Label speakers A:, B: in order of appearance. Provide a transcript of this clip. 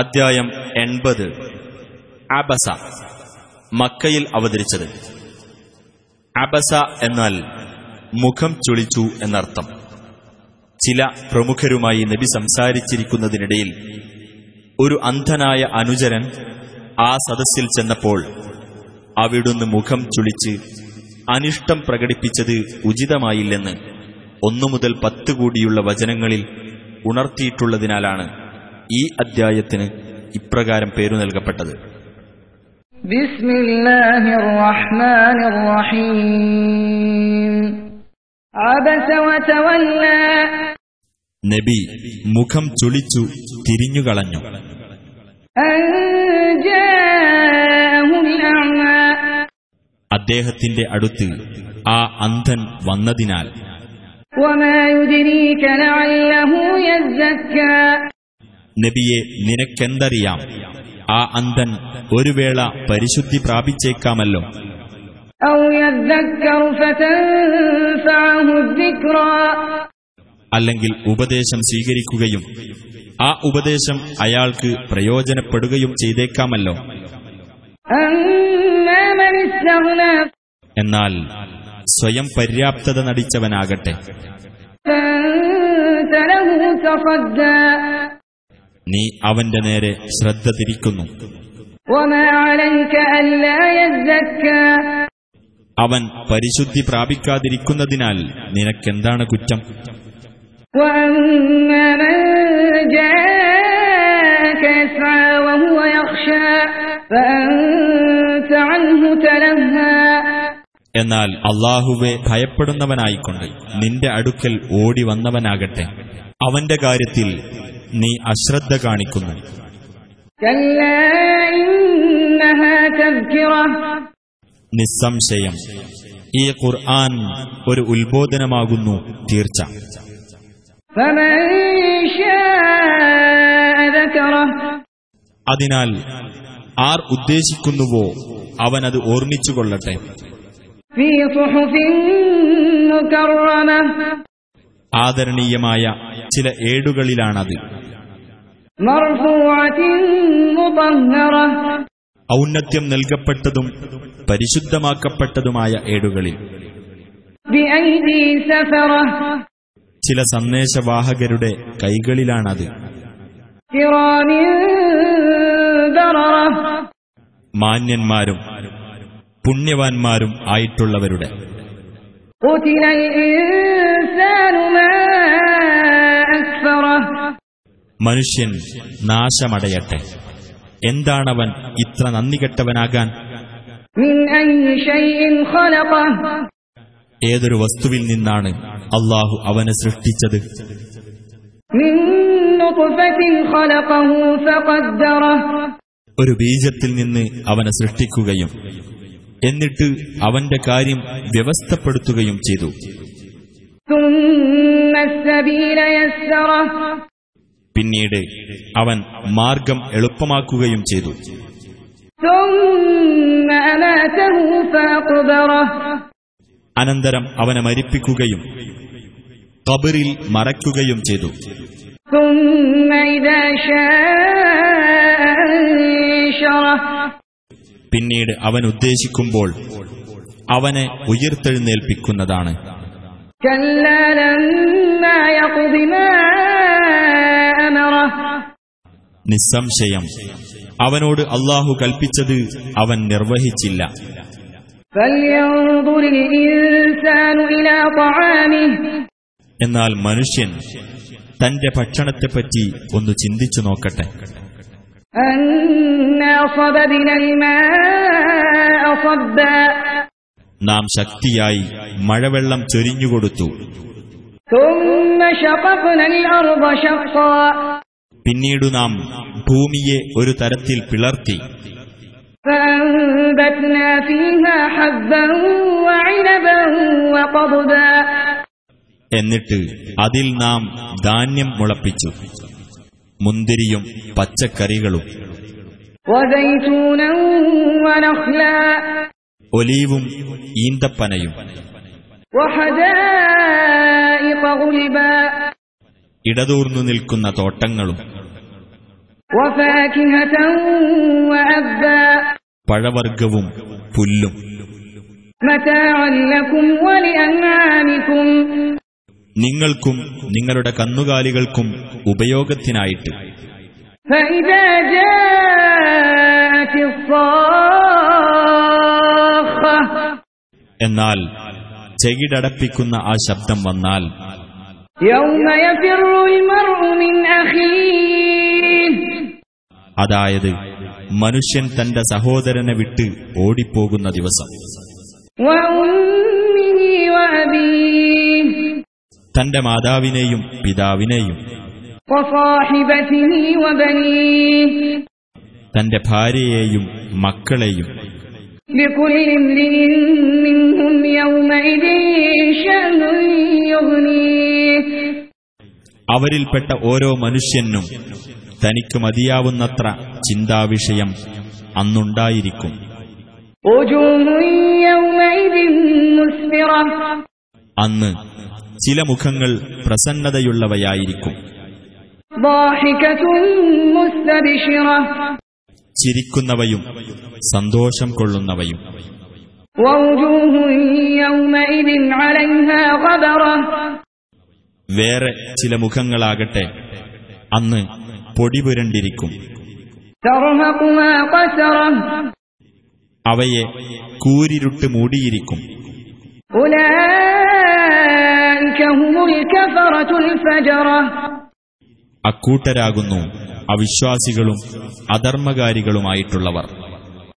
A: അധ്യായം എൺപത് അബസ മക്കയിൽ അവതരിച്ചത് അബസ എന്നാൽ മുഖം ചുളിച്ചു എന്നർത്ഥം ചില പ്രമുഖരുമായി നബി സംസാരിച്ചിരിക്കുന്നതിനിടയിൽ ഒരു അന്ധനായ അനുചരൻ ആ സദസ്സിൽ ചെന്നപ്പോൾ അവിടുന്ന് മുഖം ചുളിച്ച് അനിഷ്ടം പ്രകടിപ്പിച്ചത് ഉചിതമായില്ലെന്ന് ഒന്നു മുതൽ പത്ത് കൂടിയുള്ള വചനങ്ങളിൽ ഉണർത്തിയിട്ടുള്ളതിനാലാണ് ഈ അദ്ധ്യായത്തിന് ഇപ്രകാരം പേരു നൽകപ്പെട്ടത്
B: بسم الله الرحمن الرحيم عبس وتولى
A: നബി മുഖം ചുളിച്ചു തിരിഞ്ഞുകളഞ്ഞു
B: أن جاءه الأعمى
A: അദ്ദേഹത്തിന്റെ അടുത്ത് ആ അന്ധൻ വന്നതിനാൽ
B: وما يدريك لعله يزكى
A: നബിയെ നിനക്കെന്തറിയാം ആ അന്ധൻ ഒരു വേള പരിശുദ്ധി പ്രാപിച്ചേക്കാമല്ലോ
B: أو يذكر فتنفعه الذكرى
A: അല്ലെങ്കിൽ ഉപദേശം സ്വീകരിക്കുകയും ആ ഉപദേശം അയാൾക്ക് പ്രയോജനപ്പെടുകയും ചെയ്തേക്കാമല്ലോ
B: أما من استغنى
A: എന്നാൽ സ്വയം പര്യാപ്തത നടിച്ചവനാകട്ടെ
B: فأنت له تصدى
A: നീ അവന്റെ നേരെ ശ്രദ്ധ തിരിക്കുന്നു
B: وما عليك ألا يزكى
A: അവൻ പരിശുദ്ധി പ്രാപിക്കാതിരിക്കുന്നതിനാൽ നിനക്കെന്താണ് കുറ്റം
B: وأما من جاءك يسعى وهو يخشى فأنت عنه تلهى
A: എന്നാൽ അള്ളാഹുവെ ഭയപ്പെടുന്നവനായിക്കൊണ്ട് നിന്റെ അടുക്കൽ ഓടി വന്നവനാകട്ടെ അവന്റെ കാര്യത്തിൽ നീ അശ്രദ്ധ കാണിക്കുന്നു
B: كلا إنها تذكرة
A: നിസ്സംശയം ഈ ഖുർആൻ ഒരു ഉത്ബോധനമാകുന്നു തീർച്ച
B: فمن شاء ذكره
A: അതിനാൽ ആർ ഉദ്ദേശിക്കുന്നുവോ അവനത് ഓർമ്മിച്ചുകൊള്ളട്ടെ
B: في صحف مكرمة
A: ആദരണീയമായ ചില ഏടുകളിലാണത്
B: مرفوعة مطهرة
A: ഔന്നത്യം നൽകപ്പെട്ടതും പരിശുദ്ധമാക്കപ്പെട്ടതുമായ ഏടുകളിൽ
B: بأيدي سفرة
A: ചില സന്ദേശവാഹകരുടെ കൈകളിലാണത്
B: كرام بررة
A: മാന്യന്മാരും പുണ്യവാന്മാരും ആയിട്ടുള്ളവരുടെ
B: قتل الإنسان ما أكفره
A: മനുഷ്യൻ നാശമടയട്ടെ എന്താണവൻ ഇത്ര നന്ദികെട്ടവനാകാൻ
B: من أي شيء خلقه
A: ഏതൊരു വസ്തുവിൽ നിന്നാണ് അള്ളാഹു അവനെ സൃഷ്ടിച്ചത്
B: من نطفة خلقه فقدره
A: ഒരു ബീജത്തിൽ നിന്ന് അവനെ സൃഷ്ടിക്കുകയും എന്നിട്ട് അവന്റെ കാര്യം വ്യവസ്ഥപ്പെടുത്തുകയും ചെയ്തു
B: ثم السبيل يسره
A: പിന്നീട് അവൻ മാർഗം എളുപ്പമാക്കുകയും ചെയ്തു
B: ثم أماته فأقبره
A: അനന്തരം അവനെ മരിപ്പിക്കുകയും കബറിൽ മറയ്ക്കുകയും ചെയ്തു
B: ثم إذا شاء أنشره
A: പിന്നീട് അവൻ ഉദ്ദേശിക്കുമ്പോൾ അവനെ ഉയർത്തെഴുന്നേൽപ്പിക്കുന്നതാണ്
B: كلا لما يقض ما أمره
A: നിസ്സംശയം അവനോട് അള്ളാഹു കൽപ്പിച്ചത് അവൻ നിർവഹിച്ചില്ല
B: فلينظر الإنسان إلى طعامه
A: എന്നാൽ മനുഷ്യൻ തന്റെ ഭക്ഷണത്തെപ്പറ്റി ഒന്ന് ചിന്തിച്ചു നോക്കട്ടെ
B: أنا صببنا الماء صبا
A: നാം ശക്തിയായി മഴവെള്ളം ചൊരിഞ്ഞുകൊടുത്തു
B: ثم شققنا الأرض شقا
A: പിന്നീട് നാം ഭൂമിയെ ഒരു തരത്തിൽ പിളർത്തി
B: فأنبتنا فيها حبا وعنبا وقضبا
A: എന്നിട്ട് അതിൽ നാം ധാന്യം മുളപ്പിച്ചു മുന്തിരിയും പച്ചക്കറികളും
B: وزيتونا ونخلا
A: ഒലീവും ഈന്തപ്പനയും
B: وحدائق غلبا
A: ഇടതൂർന്നു നിൽക്കുന്ന തോട്ടങ്ങളും
B: وفاكهة وأبا
A: പഴവർഗവും പുല്ലും
B: متاعا لكم ولأنعامكم
A: നിങ്ങൾക്കും നിങ്ങളുടെ കന്നുകാലികൾക്കും ഉപയോഗത്തിനായിട്ട്
B: فإذا جاءت الصاخة
A: എന്നാൽ ചെകിടടപ്പിക്കുന്ന ആ ശബ്ദം വന്നാൽ
B: يوم يفر المرء من أخيه
A: അതായത് മനുഷ്യൻ തന്റെ സഹോദരനെ വിട്ട് ഓടിപ്പോകുന്ന ദിവസം
B: وأمه وأبيه
A: തന്റെ മാതാവിനെയും പിതാവിനെയും
B: وصاحبته وبنيه
A: തന്റെ ഭാര്യയെയും മക്കളെയും
B: لكل امرئ منهم يومئذ شأن يغنيه
A: അവരിൽപ്പെട്ട ഓരോ മനുഷ്യനും തനിക്ക് മതിയാവുന്നത്ര ചിന്താവിഷയം അന്നുണ്ടായിരിക്കും
B: وجوه يومئذ مسفرة
A: അന്ന് ചില മുഖങ്ങൾ പ്രസന്നതയുള്ളവയായിരിക്കും
B: ضاحكة مستبشرة
A: ചിരിക്കുന്നവയും സന്തോഷം കൊള്ളുന്നവയും
B: ووجوه يومئذ عليها غبرة
A: വേറെ ചില മുഖങ്ങളാകട്ടെ അന്ന് പൊടിപുരണ്ടിരിക്കും
B: ترهقها قسرة
A: അവയെ കൂരിരുട്ട് മൂടിയിരിക്കും
B: أولئك هم الكفرة الفجرة
A: അക്കൂട്ടരാകുന്നു അവിശ്വാസികളും അധർമ്മകാരികളുമായിട്ടുള്ളവർ